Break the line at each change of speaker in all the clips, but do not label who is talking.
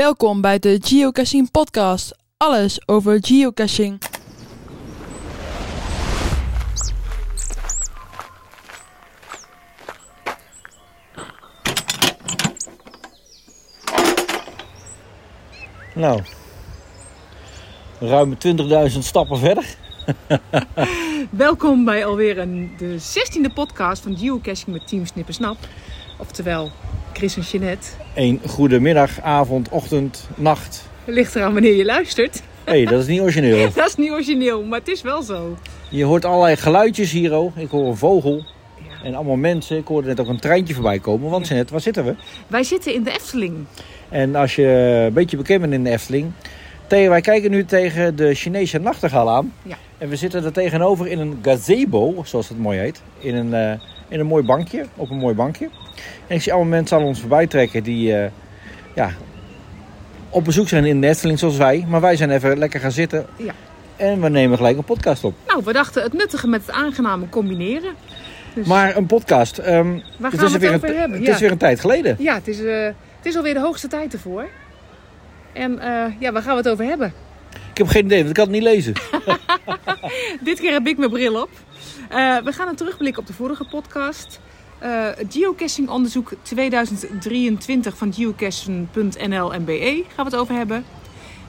Welkom bij de Geocaching Podcast. Alles over geocaching.
Nou, ruim 20.000 stappen verder.
Welkom bij alweer een, de 16e podcast van Geocaching met Team Snippersnap. Oftewel Chris en Jeanette.
Een goede middag, avond, ochtend, nacht.
Ligt eraan wanneer je luistert.
Hé, hey, dat is niet origineel.
Dat is niet origineel, maar het is wel zo.
Je hoort allerlei geluidjes hier ook. Ik hoor een vogel
Ja.
en allemaal mensen. Ik hoorde net ook een treintje voorbij komen, want net, waar zitten we?
Wij zitten in de Efteling.
En als je een beetje bekend bent in de Efteling... Tegen, wij kijken nu tegen de Chinese nachtegaal aan.
Ja.
En we zitten er tegenover in een gazebo, zoals het mooi heet. In een, eh, in een mooi bankje, op een mooi bankje. En ik zie allemaal mensen aan ons voorbij trekken die eh, ja, op bezoek zijn in de Efteling zoals wij. Maar wij zijn even lekker gaan zitten.
Ja.
En we nemen gelijk een podcast op.
Nou, we dachten het nuttige met het aangename combineren. Dus
Maar een podcast. ehm,
waar
het
gaan
is
we
er
het
weer
over
een,
hebben?
Het
ja.
is weer een tijd geleden.
ja, het is, eh, het is alweer de hoogste tijd ervoor. En eh, ja, waar gaan we het over hebben?
Ik heb geen idee, want ik kan het niet lezen.
Dit keer heb ik mijn bril op. Eh, we gaan een terugblik op de vorige podcast. Eh geocaching onderzoek 2023 van geocaching.nl en BE gaan we het over hebben.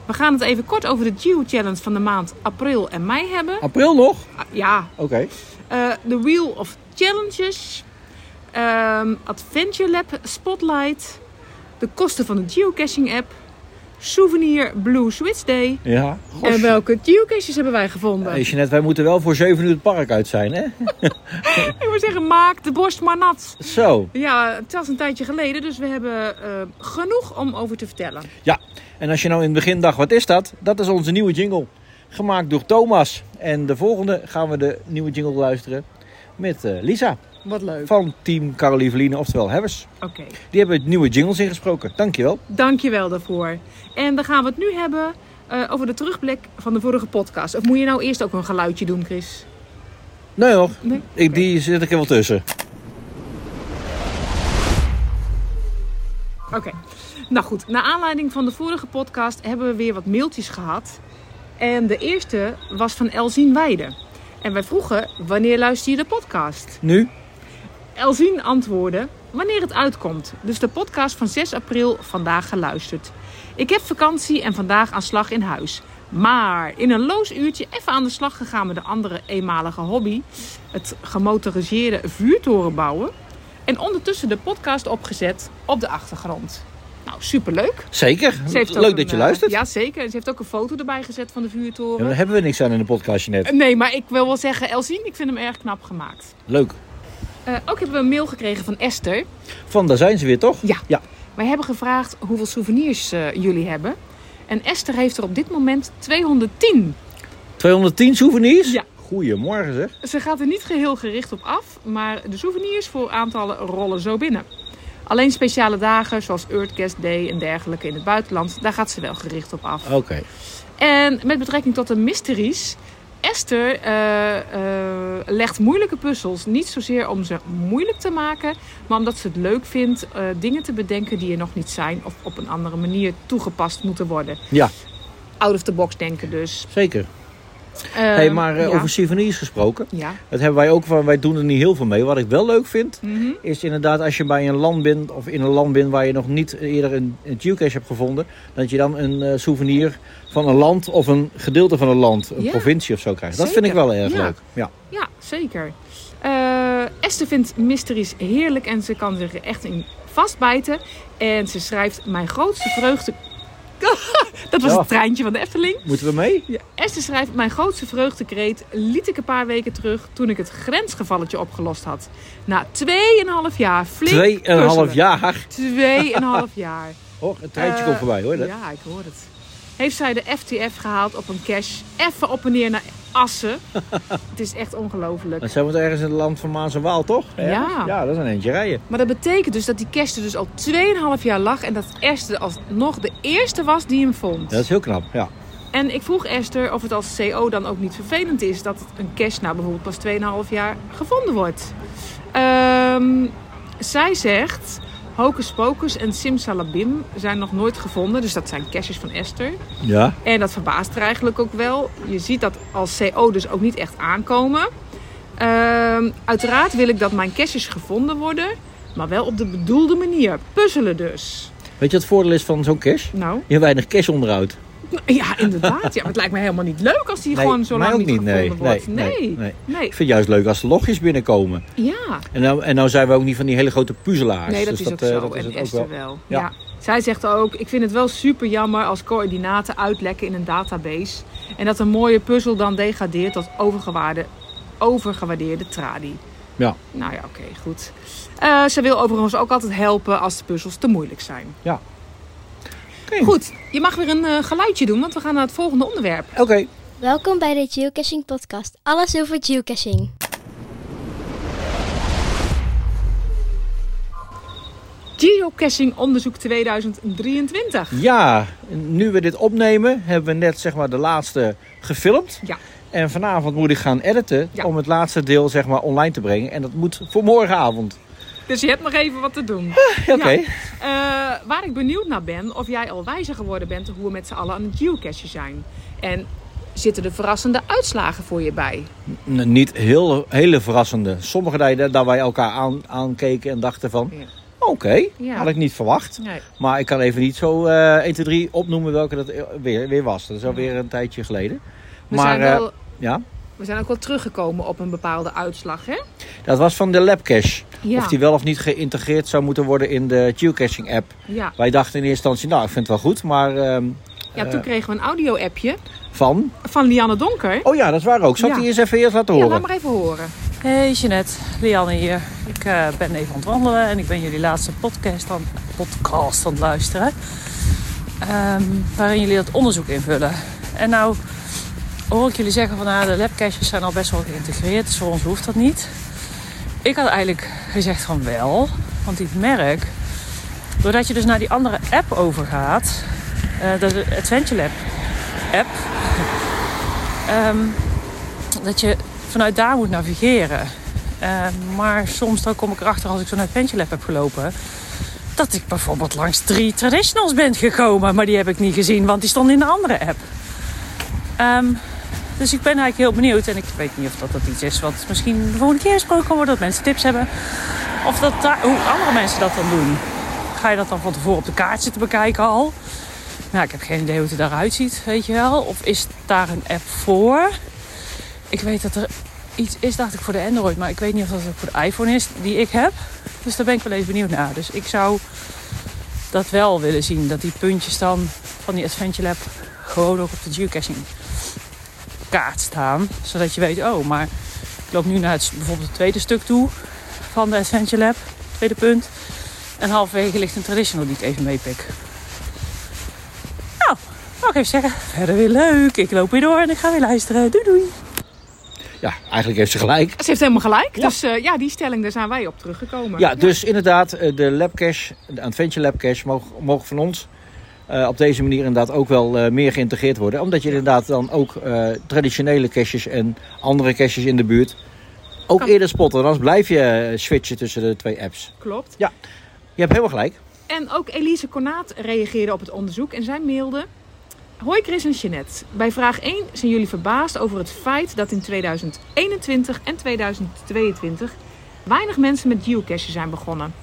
We gaan het even kort over de Geo Challenge van de maand april en mei hebben.
April nog?
Ah, ja,
Oké.
eh, de Wheel of Challenges, ehm, Adventure Lab Spotlight, de kosten van de geocaching app, Souvenir Blue Switch Day.
Ja.
En welke geocaches hebben wij gevonden?
Hey, Jeanette, wij moeten wel voor 7 uur het park uit zijn, hè?
Ik wil zeggen, maak de borst maar nat.
Zo.
Ja, het was een tijdje geleden, dus we hebben eh, genoeg om over te vertellen.
En als je nou in het begin dacht, wat is dat? Dat is onze nieuwe jingle. Gemaakt door Thomas. En de volgende gaan we de nieuwe jingle luisteren met eh, Lisa
Wat leuk.
van Team Carolieveline, oftewel Hebbers.
Oké,
Die hebben nieuwe jingles ingesproken. Dankjewel.
dankjewel daarvoor. En dan gaan we het nu hebben eh, over de terugblik van de vorige podcast. Of moet je nou eerst ook een geluidje doen, Chris?
Nee hoor,
Nee?
ik, die zit ik er wel tussen.
Oké. Nou goed, naar aanleiding van de vorige podcast hebben we weer wat mailtjes gehad. En de eerste was van Elzien Weide. En wij vroegen, wanneer luister je de podcast?
Nu?
Elzien antwoordde wanneer het uitkomt. Dus de podcast van 6 april vandaag geluisterd. Ik heb vakantie en vandaag aan slag in huis. Maar in een loos uurtje even aan de slag gegaan met de andere eenmalige hobby. Het gemotoriseerde vuurtoren bouwen. En ondertussen de podcast opgezet op de achtergrond. Nou, superleuk.
Zeker.
Ze heeft ook
Leuk
een,
dat je
eh,
luistert. Ja.
Ja, zeker. Ze heeft ook een foto erbij gezet van de
maar
vuurtoren.
daar hebben we niks aan in de podcast, Jeanette.
Nee, maar ik wil wel zeggen, Elzien, ik vind hem erg knap gemaakt.
Leuk.
Eh, ook hebben we een mail gekregen van Esther.
Van, daar zijn ze weer, toch?
Ja.
Ja.
Wij hebben gevraagd hoeveel souvenirs eh, jullie hebben. En Esther heeft er op dit moment 210.
210 souvenirs?
Ja.
Goedemorgen, zeg.
Ze gaat er niet geheel gericht op af, maar de souvenirs voor aantallen rollen zo binnen. Alleen speciale dagen zoals Earthcast Day en dergelijke in het buitenland, daar gaat ze wel gericht op af.
Oké.
En met betrekking tot de mysteries. Esther eh, eh, legt moeilijke puzzels niet zozeer om ze moeilijk te maken, maar omdat ze het leuk vindt eh, dingen te bedenken die er nog niet zijn of op een andere manier toegepast moeten worden.
Ja.
Out of the box denken dus.
Zeker.
Ehm,
hey, maar eh,
ja.
over souvenirs gesproken.
Ja.
Dat hebben wij ook van, wij doen er niet heel veel mee. Wat ik wel leuk vind,
Mhm.
is inderdaad als je bij een land bent of in een land bent waar je nog niet eerder een, een geocache hebt gevonden, dat je dan een eh, souvenir van een land of een gedeelte van een land, een
Ja.
provincie of zo krijgt. Dat
Zeker.
vind ik wel erg
Ja.
leuk. Ja.
Ja, zeker. Eh, Esther vindt mysteries heerlijk en ze kan zich er echt in vastbijten. En ze schrijft mijn grootste vreugde... Dat was
Ja.
het treintje van de Efteling.
Moeten we mee?
Ja, Esther schrijft: Mijn grootste vreugdekreet liet ik een paar weken terug toen ik het grensgevalletje opgelost had. Na 2,5 jaar flink.
Tweeënhalf jaar.
2,5 jaar.
Oh, het treintje
Eh,
komt voorbij hoor. Dat.
Ja, ik hoor het. Heeft zij de FTF gehaald op een cash? Even op en neer naar Assen. het is echt ongelooflijk.
Dan zijn we toch ergens in het land van Maas en Waal, toch? Ergens? Ja, dat is een eentje rijden.
Maar dat betekent dus dat die cash er dus al 2,5 jaar lag en dat Esther alsnog de eerste was die hem vond.
Dat is heel knap, ja.
En ik vroeg Esther of het als CO dan ook niet vervelend is dat het een cash nou bijvoorbeeld pas 2,5 jaar gevonden wordt. Ehm, zij zegt, Hocus Pocus en Simsalabim zijn nog nooit gevonden. Dus dat zijn caches van Esther.
Ja.
En dat verbaast er eigenlijk ook wel. Je ziet dat als CO dus ook niet echt aankomen. Ehm, uiteraard wil ik dat mijn caches gevonden worden, maar wel op de bedoelde manier. Puzzelen dus.
Weet je wat het voordeel is van zo'n cash?
Nou,
Je hebt weinig cash onderhoud.
ja, inderdaad. Ja, maar het lijkt me helemaal niet leuk als die
Nee,
gewoon zo
mij
lang
ook
niet gevonden
nee.
wordt.
Nee, nee,
nee.
nee.
nee.
Ik vind het juist leuk als de logjes binnenkomen.
Ja,
En nou, en nou zijn we ook niet van die hele grote puzzelaars.
nee, dat
Dus
is ook
eh,
zo.
dat is
en
het ook
Esther
wel.
wel. Ja.
Ja.
Zij zegt ook, ik vind het wel super jammer als coördinaten uitlekken in een database. En dat een mooie puzzel dan degradeert tot overgewaarde, overgewaardeerde tradi.
Ja.
Nou ja, oké, goed. Eh, ze wil overigens ook altijd helpen als de puzzels te moeilijk zijn.
Ja. Oké.
Goed, je mag weer een eh, geluidje doen, want we gaan naar het volgende onderwerp.
Oké.
Welkom bij de Geocaching Podcast. Alles over geocaching.
Geocaching onderzoek 2023.
Ja, nu we dit opnemen, hebben we net zeg maar de laatste gefilmd.
Ja.
En vanavond moet ik gaan editen
Ja.
om het laatste deel zeg maar online te brengen. En dat moet voor morgenavond.
Dus je hebt nog even wat te doen.
Oké.
Eh, waar ik benieuwd naar ben, of jij al wijzer geworden bent hoe we met z'n allen aan het geocachen zijn. En zitten er verrassende uitslagen voor je bij?
N- Niet heel hele verrassende. Sommige dingen dat wij elkaar aan, aankeken en dachten van...
Ja.
Oké,
Ja.
had ik niet verwacht.
Nee.
Maar ik kan even niet zo eh 1, 2, 3 opnoemen welke dat eh, weer, weer was. Dat is alweer een tijdje geleden.
We,
maar
zijn
eh,
wel,
ja,
we zijn ook wel teruggekomen op een bepaalde uitslag, hè?
dat was van de labcache.
Ja.
Of die wel of niet geïntegreerd zou moeten worden in de geocaching app.
ja.
Wij dachten in eerste instantie, nou ik vind het wel goed, maar ehm,
ja,
eh,
toen kregen we een audio-appje
van...
van Lianne Donker.
Oh ja, dat is waar ook. Zal ik
Ja.
die eens even eerst laten
Ja,
horen?
laat maar even horen.
Hey Jeanette, Lianne hier. Ik eh, ben even aan het wandelen en ik ben jullie laatste podcast aan, podcast aan het luisteren. Ehm, waarin jullie dat onderzoek invullen. En nou hoor ik jullie zeggen van ah, de labcaches zijn al best wel geïntegreerd, dus voor ons hoeft dat niet. Ik had eigenlijk gezegd van wel, want ik merk, doordat je dus naar die andere app overgaat, eh, de Adventure Lab app, ehm, dat je vanuit daar moet navigeren. Eh, maar soms dan kom ik erachter als ik zo'n Adventure Lab heb gelopen... dat ik bijvoorbeeld langs drie traditionals ben gekomen. Maar die heb ik niet gezien, want die stonden in de andere app. Ehm, dus ik ben eigenlijk heel benieuwd. En ik weet niet of dat, dat iets is wat misschien de volgende keer gesproken kan worden. Dat mensen tips hebben. Of dat daar, hoe andere mensen dat dan doen. Ga je dat dan van tevoren op de kaart zitten bekijken al? Nou, ik heb geen idee hoe het eruit ziet, weet je wel. Of is daar een app voor? Ik weet dat er iets is, dacht ik, voor de Android. Maar ik weet niet of dat ook voor de iPhone is die ik heb. Dus daar ben ik wel even benieuwd naar. Dus ik zou dat wel willen zien. Dat die puntjes dan van die Adventure Lab gewoon ook op de geocaching kaart staan. Zodat je weet, oh, maar ik loop nu naar het, bijvoorbeeld het tweede stuk toe van de Adventure Lab. Tweede punt. En halverwege ligt een traditional die ik even meepik. Nou, mag ik even zeggen. Verder weer leuk. Ik loop weer door en ik ga weer luisteren. Doei doei.
Ja, eigenlijk heeft ze gelijk.
Ze heeft helemaal gelijk.
Ja.
Dus eh, ja, die stelling, daar zijn wij op teruggekomen.
Ja, dus inderdaad, eh, de labcache, de Adventure Labcache, mogen, mogen van ons eh, op deze manier inderdaad ook wel eh, meer geïntegreerd worden. Omdat je inderdaad dan ook eh, traditionele caches en andere caches in de buurt ook
Kan.
eerder spotten. Anders blijf je eh, switchen tussen de twee apps.
Klopt.
Je hebt helemaal gelijk.
En ook Elise Cornaat reageerde op het onderzoek en zij mailde... Hoi Chris en Jeanette. Bij vraag 1 zijn jullie verbaasd over het feit dat in 2021 en 2022 weinig mensen met geocachen zijn begonnen.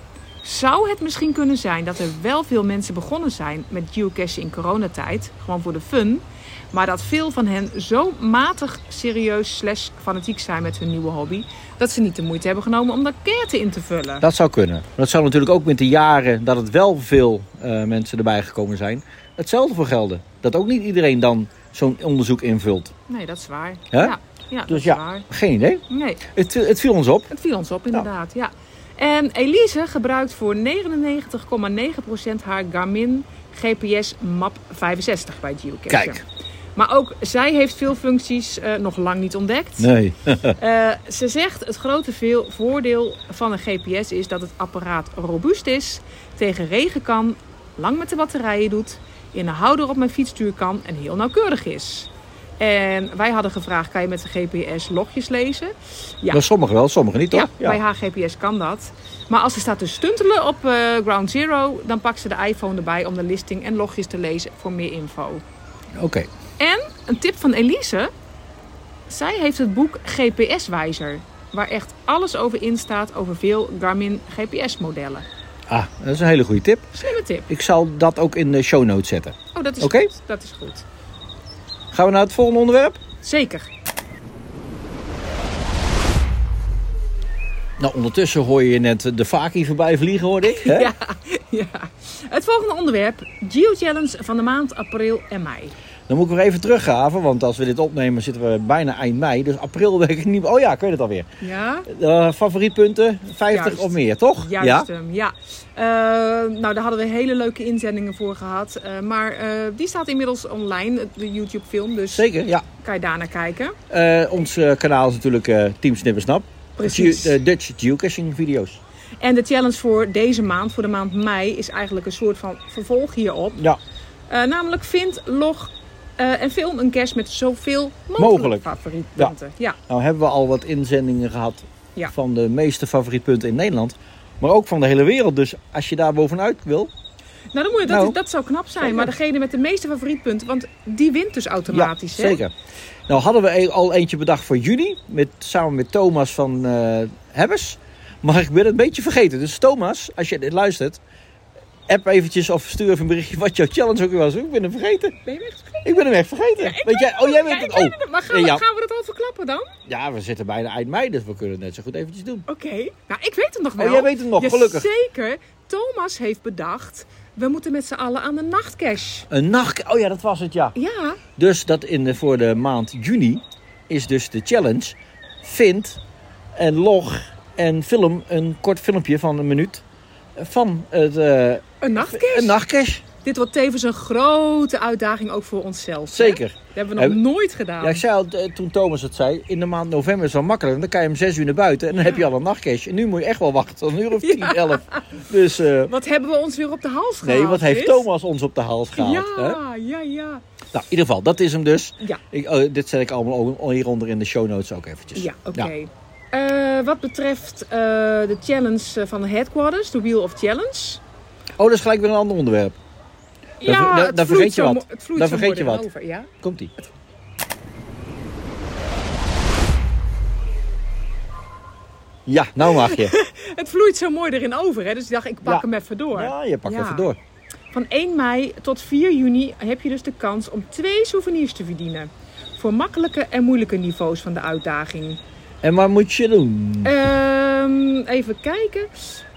Zou het misschien kunnen zijn dat er wel veel mensen begonnen zijn met geocachen in coronatijd, gewoon voor de fun, maar dat veel van hen zo matig serieus slash fanatiek zijn met hun nieuwe hobby, dat ze niet de moeite hebben genomen om daar keerten in te vullen?
Dat zou kunnen. Maar dat zou natuurlijk ook met de jaren dat het wel veel eh, mensen erbij gekomen zijn. Hetzelfde voor gelden. Dat ook niet iedereen dan zo'n onderzoek invult.
Nee, dat is waar.
Hè?
Ja, ja dat is
ja.
waar.
Geen idee.
Nee,
Het, viel- het viel ons op.
het viel ons op inderdaad, ja. En Elise gebruikt voor 99,9% haar Garmin GPS Map 65 bij geocachen.
Kijk.
Maar ook zij heeft veel functies eh, nog lang niet ontdekt.
Nee.
Eh, ze zegt het grote veel voordeel van een GPS is dat het apparaat robuust is, tegen regen kan, lang met de batterijen doet, in een houder op mijn fietstuur kan en heel nauwkeurig is. En wij hadden gevraagd, kan je met de GPS logjes lezen? Ja.
Maar sommigen wel, sommigen niet, toch?
Ja, bij HGPS kan dat. Maar als ze staat te stuntelen op eh, Ground Zero, dan pakt ze de iPhone erbij om de listing en logjes te lezen voor meer info.
Oké.
Een tip van Elise. Zij heeft het boek GPS Wijzer, waar echt alles over in staat over veel Garmin GPS modellen.
Ah, dat is een hele goede tip.
Slimme tip.
Ik zal dat ook in de show notes zetten.
Oh, dat is
Oké.
goed. Dat is goed.
Gaan we naar het volgende onderwerp?
Zeker.
Nou, ondertussen hoor je net de Faki voorbij vliegen, hoorde ik. Hè?
Ja. Ja. Het volgende onderwerp, Geo-challenge van de maand april en mei.
Dan moet ik weer even teruggraven, want als we dit opnemen zitten we bijna eind mei. Dus april weet ik niet meer. Oh ja, ik weet het alweer.
Ja?
Eh favorietpunten, 50
Juist.
of meer, toch?
Juist
Ja?
hem, ja. Eh, nou, daar hadden we hele leuke inzendingen voor gehad. Eh, maar eh, die staat inmiddels online, de YouTube film. Dus
Zeker, ja.
kan je daarna kijken.
Eh, ons eh, kanaal is natuurlijk eh Team Snippersnap.
Precies.
Ge- eh, Dutch geocaching video's.
En de challenge voor deze maand, voor de maand mei, is eigenlijk een soort van vervolg hierop.
Ja,
Eh, namelijk vind, log eh, en film een cache met zoveel mogelijk,
Mogelijk.
favorietpunten. Ja.
nou hebben we al wat inzendingen gehad
Ja.
van de meeste favorietpunten in Nederland. Maar ook van de hele wereld. Dus als je daar bovenuit wil,
Nou, dan moet je, dat,
Nou.
dat zou knap zijn.
Zeker.
Maar degene met de meeste favorietpunten, want die wint dus automatisch.
Ja,
hè?
zeker. Nou hadden we e- al eentje bedacht voor juni, met, samen met Thomas van eh Hebbes. Maar ik ben het een beetje vergeten. Dus Thomas, als je dit luistert, app eventjes of stuur even een berichtje wat jouw challenge ook weer was. Ik ben hem vergeten.
Ben je echt
Ik ben hem echt vergeten. weet jij? Oh, jij weet
ja, ik
het.
weet
Oh,
het. Maar gaan we,
Ja.
gaan we dat al verklappen dan?
ja, we zitten bijna eind mei, dus we kunnen het net zo goed eventjes doen.
Oké. Nou, ik weet het nog wel.
Oh, jij weet het nog, gelukkig.
Zeker. Thomas heeft bedacht, we moeten met z'n allen aan de nachtcash.
Een nacht. Oh ja, dat was het, ja.
Ja,
Dus dat in de, voor de maand juni is dus de challenge. Vind en log en film een kort filmpje van een minuut van het, eh,
een nachtcash.
een nachtcash.
Dit wordt tevens een grote uitdaging ook voor onszelf. hè?
Zeker.
Dat hebben we nog
Heb-
nooit gedaan.
Ja, ik zei al eh, toen Thomas het zei, in de maand november is het wel makkelijker. Dan kan je om zes uur naar buiten en dan heb je al een nachtcash. En nu moet je echt wel wachten, tot een uur of tien, elf. Dus eh,
Wat hebben we ons weer op de hals gehaald?
nee, wat heeft
Chris?
Thomas ons op de hals gehaald?
Ja,
hè?
ja, ja.
Nou, in ieder geval, dat is hem dus.
Ja.
Ik, oh, dit zet ik allemaal ook hieronder in de show notes ook eventjes.
Ja, oké. Eh, wat betreft eh, de challenge eh, van de headquarters, de Wheel of Challenge.
Oh, dat is gelijk weer een ander onderwerp.
Ja,
da-
het
daar
vloeit
vergeet je
zo
wat.
mo- Het vloeit
Daar
zo
vergeet je
mooi
wat.
over, ja.
Komt-ie. Ja, nou mag je.
Het vloeit zo mooi erin over, hè? dus ik dacht, ik pak
Ja.
hem even door.
Ja, je pakt
Ja.
even door.
Van 1 mei tot 4 juni heb je dus de kans om twee souvenirs te verdienen. Voor makkelijke en moeilijke niveaus van de uitdaging.
En wat moet je doen?
Ehm, even kijken.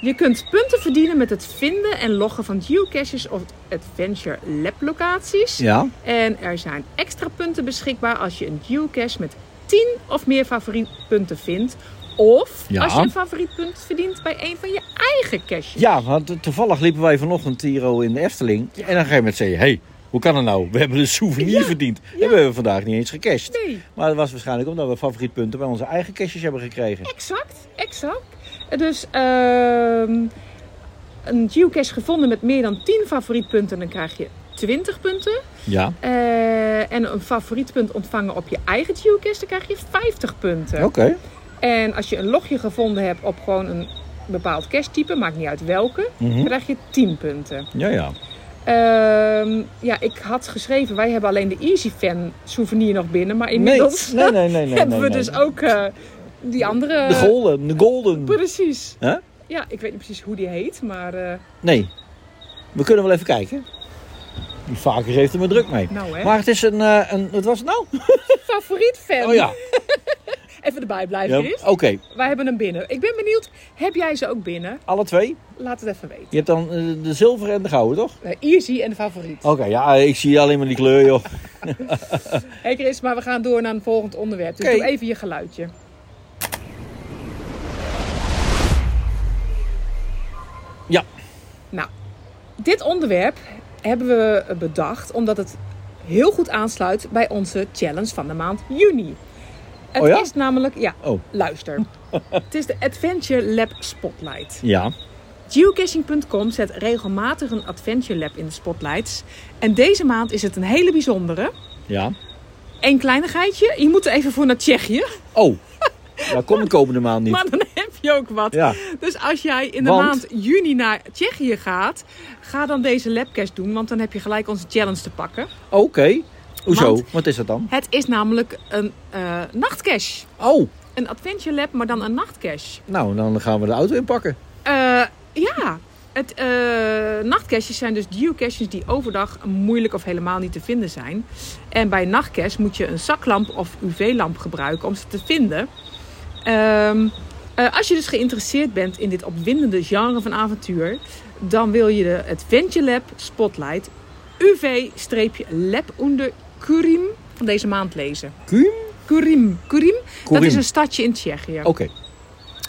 Je kunt punten verdienen met het vinden en loggen van geocaches of Adventure Lab locaties.
Ja,
En er zijn extra punten beschikbaar als je een geocache met 10 of meer favorietpunten vindt. Of
Ja.
als je een favoriet punt verdient bij een van je eigen caches.
ja want toevallig liepen wij vanochtend hier al in de Efteling. En op een gegeven moment zei je, hé, hey, hoe kan het nou? We hebben een souvenir verdiend. En we hebben vandaag niet eens gecashed.
Nee,
Maar dat was waarschijnlijk omdat we favorietpunten bij onze eigen caches hebben gekregen.
exact, exact. Dus ehm, een geocache gevonden met meer dan 10 favorietpunten, dan krijg je 20 punten.
Ja,
Eh, en een favorietpunt ontvangen op je eigen geocache, dan krijg je 50 punten.
oké.
En als je een logje gevonden hebt op gewoon een bepaald cache-type, maakt niet uit welke,
Mhm.
krijg je 10 punten.
Ja, ja.
Ehm, ja, ik had geschreven, wij hebben alleen de Easy Fan souvenir nog binnen, maar
Nee,
inmiddels
nee, nee, nee. nee, nee,
hebben we
nee.
dus ook eh, die andere.
De golden, de golden.
Precies.
Hè?
Ja, ik weet niet precies hoe die heet, maar eh,
Nee, we kunnen wel even kijken. Die vaker heeft er me druk mee.
nou hè.
Maar het is een, eh, een wat was het nou?
Favoriet fan.
Oh ja,
Even erbij blijven,
ja.
Chris.
oké.
Wij hebben hem binnen. Ik ben benieuwd, heb jij ze ook binnen?
Alle twee.
Laat het even weten.
Je hebt dan eh, de zilver en de gouden, toch?
Eh, Easy en de favoriet.
Oké, ja, eh, ik zie alleen maar die kleur, joh.
Hey Chris, maar we gaan door naar een volgend onderwerp. Dus
Oké.
doe even je geluidje.
Ja.
Nou, dit onderwerp hebben we bedacht omdat het heel goed aansluit bij onze challenge van de maand juni. Het
Oh ja?
is namelijk, ja,
Oh.
luister. het is de Adventure Lab Spotlight.
Ja,
Geocaching.com zet regelmatig een Adventure Lab in de spotlights. En deze maand is het een hele bijzondere.
ja.
Eén kleinigheidje. Je moet er even voor naar Tsjechië.
Oh, daar kom ik komende maand niet.
Maar dan heb je ook wat.
Ja,
Dus als jij in de
Want?
maand juni naar Tsjechië gaat, ga dan deze labcast doen. Want dan heb je gelijk onze challenge te pakken.
oké. Hoezo?
Want-
Wat is dat dan?
Het is namelijk een eh nachtcash.
Oh,
Een adventure lab, maar dan een nachtcash.
nou, dan gaan we de auto inpakken.
Eh, ja, het, eh, nachtcaches zijn dus geocaches die overdag moeilijk of helemaal niet te vinden zijn. En bij nachtcache moet je een zaklamp of UV-lamp gebruiken om ze te vinden. Ehm, eh, als je dus geïnteresseerd bent in dit opwindende genre van avontuur, dan wil je de Adventure Lab Spotlight UV-lab onder Kurim van deze maand lezen.
Kurim? Oh.
Kurim. Kurim, dat
Koerim.
is een stadje in Tsjechië.
Oké,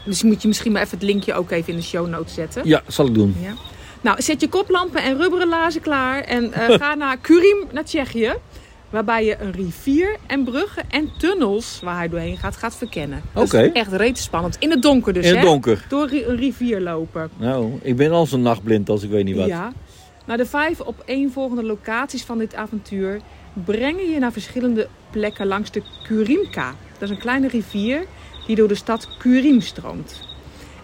Dus moet je misschien maar even het linkje ook even in de show notes zetten.
ja, zal ik doen.
Ja. Nou, zet je koplampen en rubberen lazen klaar en eh, ga naar Kurim, naar Tsjechië. Waarbij je een rivier en bruggen en tunnels waar hij doorheen gaat, gaat verkennen. Dat is
Oké.
echt reet spannend. In het donker dus,
In het
hè?
donker.
Door ri- een rivier lopen.
Nou, ik ben al zo nachtblind als ik weet niet wat.
Ja. Nou, de vijf op één volgende locaties van dit avontuur brengen je naar verschillende plekken langs de Kurimka. Dat is een kleine rivier die door de stad Kurim stroomt.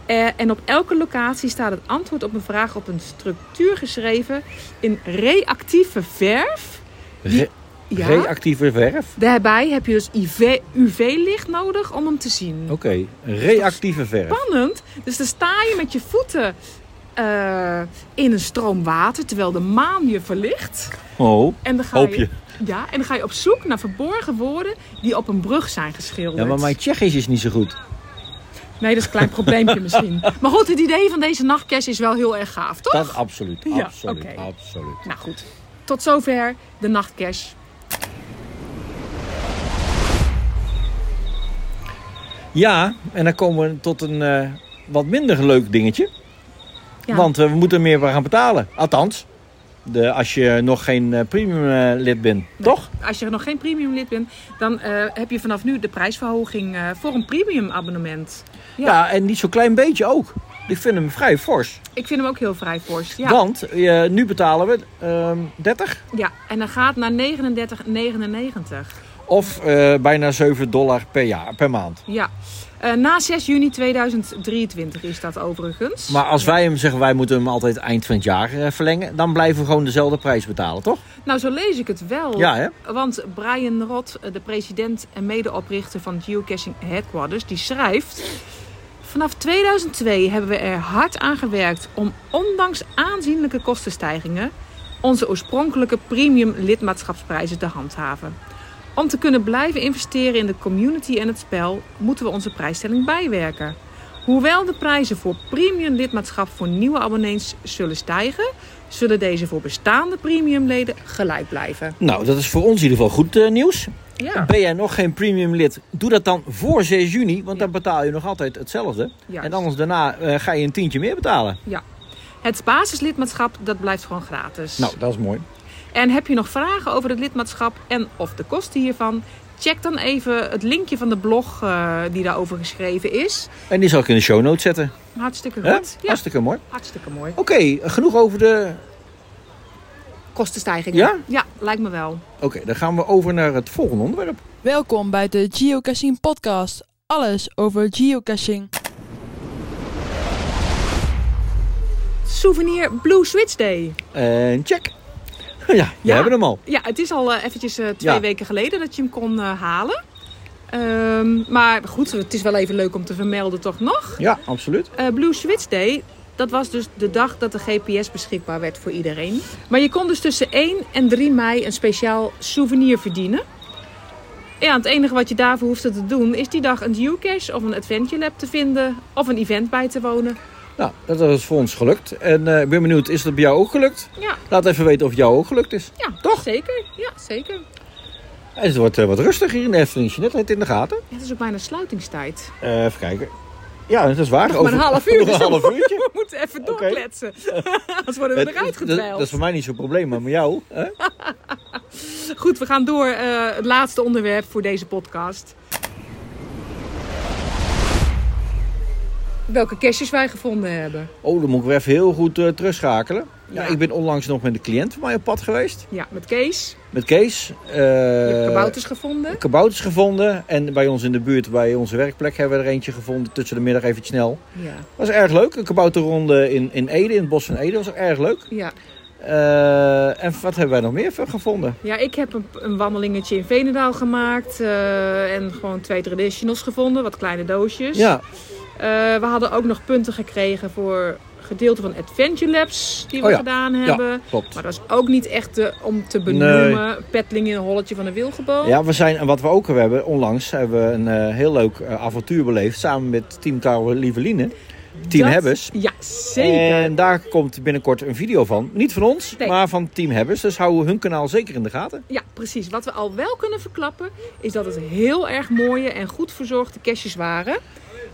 Eh, en op elke locatie staat het antwoord op een vraag op een structuur geschreven in reactieve verf.
Re-
Ja.
Reactieve verf?
Daarbij heb je dus IV UV-licht nodig om hem te zien.
Oké, reactieve verf.
spannend. Dus dan sta je met je voeten eh, in een stroom water terwijl de maan je verlicht.
Oh,
En dan ga
hoop je.
Ja, en dan ga je op zoek naar verborgen woorden die op een brug zijn geschilderd.
Ja, maar mijn Tsjechisch is niet zo goed.
Nee, dat is een klein probleempje misschien. Maar goed, het idee van deze nachtcast is wel heel erg gaaf, toch?
Dat absoluut,
Ja,
absoluut,
oké.
absoluut.
Nou goed, tot zover de nachtcast.
Ja, en dan komen we tot een eh, wat minder leuk dingetje.
Ja.
Want eh, we moeten meer gaan betalen. Althans, de, als je nog geen eh, premium eh, lid bent, toch?
Als je nog geen premium lid bent, dan eh, heb je vanaf nu de prijsverhoging eh, voor een premium abonnement.
Ja. en niet zo'n klein beetje ook. Ik vind hem vrij fors.
Ik vind hem ook heel vrij fors. Ja,
Want eh, nu betalen we ehm 30
ja. en dan gaat naar 39,99.
of eh, bijna 7 dollar per jaar, per maand.
Ja. Eh, na 6 juni 2023 is dat overigens.
Maar als wij hem zeggen, wij moeten hem altijd eind van het jaar eh, verlengen, dan blijven we gewoon dezelfde prijs betalen, toch?
Nou, zo lees ik het wel.
Ja, hè?
Want Brian Rot, de president en medeoprichter van Geocaching Headquarters, die schrijft... Vanaf 2002 hebben we er hard aan gewerkt om ondanks aanzienlijke kostenstijgingen... onze oorspronkelijke premium lidmaatschapsprijzen te handhaven. Om te kunnen blijven investeren in de community en het spel moeten we onze prijsstelling bijwerken. Hoewel de prijzen voor premium lidmaatschap voor nieuwe abonnees zullen stijgen, zullen deze voor bestaande premiumleden gelijk blijven.
Nou, dat is voor ons in ieder geval goed eh, nieuws.
Ja,
Ben jij nog geen premium lid? Doe dat dan voor 6 juni, want
Ja.
dan betaal je nog altijd hetzelfde.
Juist.
En anders daarna eh, ga je een tientje meer betalen.
het basislidmaatschap dat blijft gewoon gratis.
Nou, dat is mooi.
En heb je nog vragen over het lidmaatschap en of de kosten hiervan? Check dan even het linkje van de blog eh, die daarover geschreven is.
En die zal ik in de show notes zetten.
Hartstikke
Hè?
goed. Ja,
Hartstikke mooi.
hartstikke mooi.
Oké, genoeg over de...
Kostenstijgingen.
Ja?
Ja, lijkt me wel.
Oké, dan gaan we over naar het volgende onderwerp.
Welkom bij de Geocaching Podcast. Alles over geocaching.
Souvenir Blue Switch Day.
En check. Ja, we
Ja.
hebben hem al.
Ja, het is al eh, eventjes eh, twee
Ja.
weken geleden dat je hem kon eh, halen. Ehm, maar goed, het is wel even leuk om te vermelden toch nog.
Ja, absoluut.
Eh, Blue Switch Day, dat was dus de dag dat de GPS beschikbaar werd voor iedereen. Maar je kon dus tussen 1 en 3 mei een speciaal souvenir verdienen. Ja, het enige wat je daarvoor hoefde te doen is die dag een geocache of een adventure lab te vinden of een event bij te wonen.
Nou, dat is voor ons gelukt. En eh, ik ben benieuwd, is dat bij jou ook gelukt?
Ja,
Laat even weten of het jou ook gelukt is.
ja
Toch?
Zeker, ja, zeker.
En het wordt eh, wat rustiger hier in de Efteling. Net het in de gaten.
Het is ook bijna sluitingstijd.
Eh, even kijken. Ja, dat is waar.
Nog maar een half uur,
Nog
dus
een
dan
half uurtje.
We moeten even
Oké.
doorkletsen. Anders worden we
Het-
eruit
dat, dat is
gedweild.
voor mij niet zo'n probleem, maar met jou. Hè?
Goed, we gaan door. eh, het laatste onderwerp voor deze podcast. Welke caches wij gevonden hebben.
Oh, dan moet ik weer even heel goed eh terugschakelen. Ja, ik ben onlangs nog met een cliënt van mij op pad geweest.
Ja, met Kees.
Met Kees.
Je hebt
eh
kabouters gevonden.
kabouters gevonden. En bij ons in de buurt, bij onze werkplek, hebben we er eentje gevonden. Tussen de middag even snel.
Ja.
was erg leuk. Een kabouterronde in, in Ede, in het bos van Ede. was erg leuk.
Ja.
Eh, en wat hebben wij nog meer gevonden?
ja, ik heb een, een wandelingetje in Venendaal gemaakt. eh, en gewoon twee traditionals gevonden, wat kleine doosjes.
Ja,
Eh, we hadden ook nog punten gekregen voor gedeelte van Adventure Labs die we
Oh ja.
gedaan
Ja.
hebben.
klopt.
Maar dat is ook niet echt eh, om te benoemen. Petling in een holletje van een wilgeboom.
Ja, we zijn, en wat we ook hebben, onlangs hebben we een eh, heel leuk eh, avontuur beleefd. Samen met Team Karel Lieveline. Team
Dat-
Hebbers.
Ja, zeker.
En daar komt binnenkort een video van. Niet van ons,
Nee.
maar van Team Hebbers. Dus hou hun kanaal zeker in de gaten.
Ja, precies. Wat we al wel kunnen verklappen is dat het heel erg mooie en goed verzorgde kerstjes waren.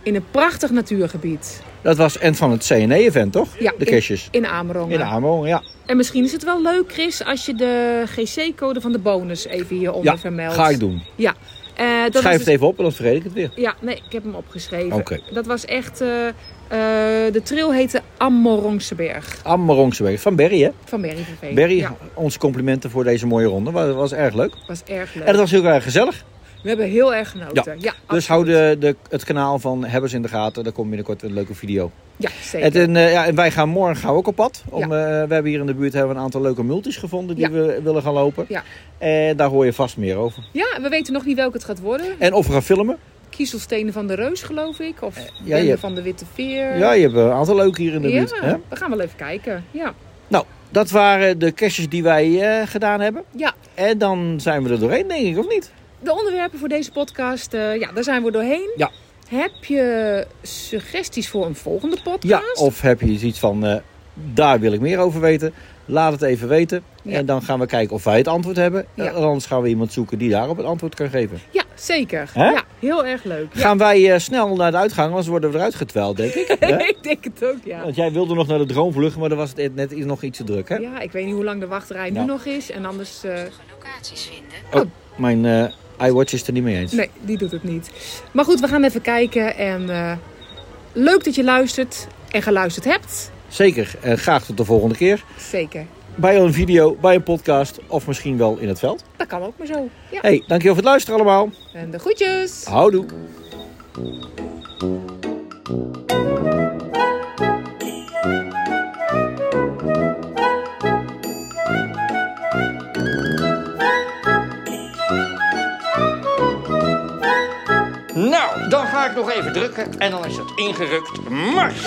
In een prachtig natuurgebied.
Dat was en van het CNE-event, toch?
Ja,
De
in-
kerstjes.
In Amerongen.
In Amo, ja.
En misschien is het wel leuk, Chris, als je de GC-code van de bonus even hieronder
Ja,
vermeldt.
Ga ik doen.
Ja. Eh,
Schrijf
dat is dus-
het even op, dan vergeet ik het weer.
Ja, nee, ik heb hem opgeschreven.
Oké.
Dat was echt... eh, eh, de trail heette Ammerongse Berg
Ammerongse van Berry, hè?
van Berry van
Berry,
Ja,
onze complimenten voor deze mooie ronde. Dat was erg leuk.
was erg leuk.
En het was heel erg gezellig.
We hebben heel erg genoten.
Dus
Ja, absoluut.
hou de, de, het kanaal van Hebbers in de gaten. Daar komt binnenkort een leuke video.
Ja,
En,
zeker.
eh, ja, en wij gaan morgen gaan we ook op pad. Om, eh, we hebben hier in de buurt hebben we een aantal leuke multis gevonden die
Ja.
we willen gaan lopen.
Ja.
En daar hoor je vast meer over.
Ja, we weten nog niet welke het gaat worden.
En of we gaan filmen.
Kiezelstenen van de Reus, geloof ik. Of Bende
Eh, ja, je-
van de Witte Veer.
Ja, je hebt een aantal leuke hier in de
Ja,
buurt. Hè?
we gaan wel even kijken. Ja,
Nou, dat waren de kerstjes die wij eh, gedaan hebben.
ja.
En dan zijn we er doorheen, denk ik, of niet?
de onderwerpen voor deze podcast, eh, ja, daar zijn we doorheen.
Ja.
Heb je suggesties voor een volgende
Ja, oh.
podcast?
of heb je iets van, eh, daar wil ik meer over weten. Laat het even weten.
Ja.
En dan gaan we kijken of wij het antwoord hebben.
Ja.
En anders gaan we iemand zoeken die daarop het antwoord kan geven.
Ja, zeker.
Hè?
Ja, heel erg leuk. Ja,
Gaan wij eh, snel naar de uitgang, anders worden we eruit getwijld, denk ik. Hè?
ik denk het ook, ja.
Want jij wilde nog naar de droomvlucht, maar dan was het net iets- nog iets te druk, hè?
Ja, ik weet niet hoe lang de wachtrij nu
Nou.
nog is. En anders... eh,
Mijn eh, iWatch is er niet mee eens.
nee, die doet het niet. Maar goed, we gaan even kijken. En eh, leuk dat je luistert en geluisterd hebt.
Zeker. En graag tot de volgende keer.
Zeker.
Bij een video, bij een podcast of misschien wel in het veld.
Dat kan ook maar zo. Ja.
hey, dankjewel voor het luisteren allemaal.
En de groetjes.
Houdoe.
Nou, dan ga ik nog even drukken en dan is het ingerukt. Mars!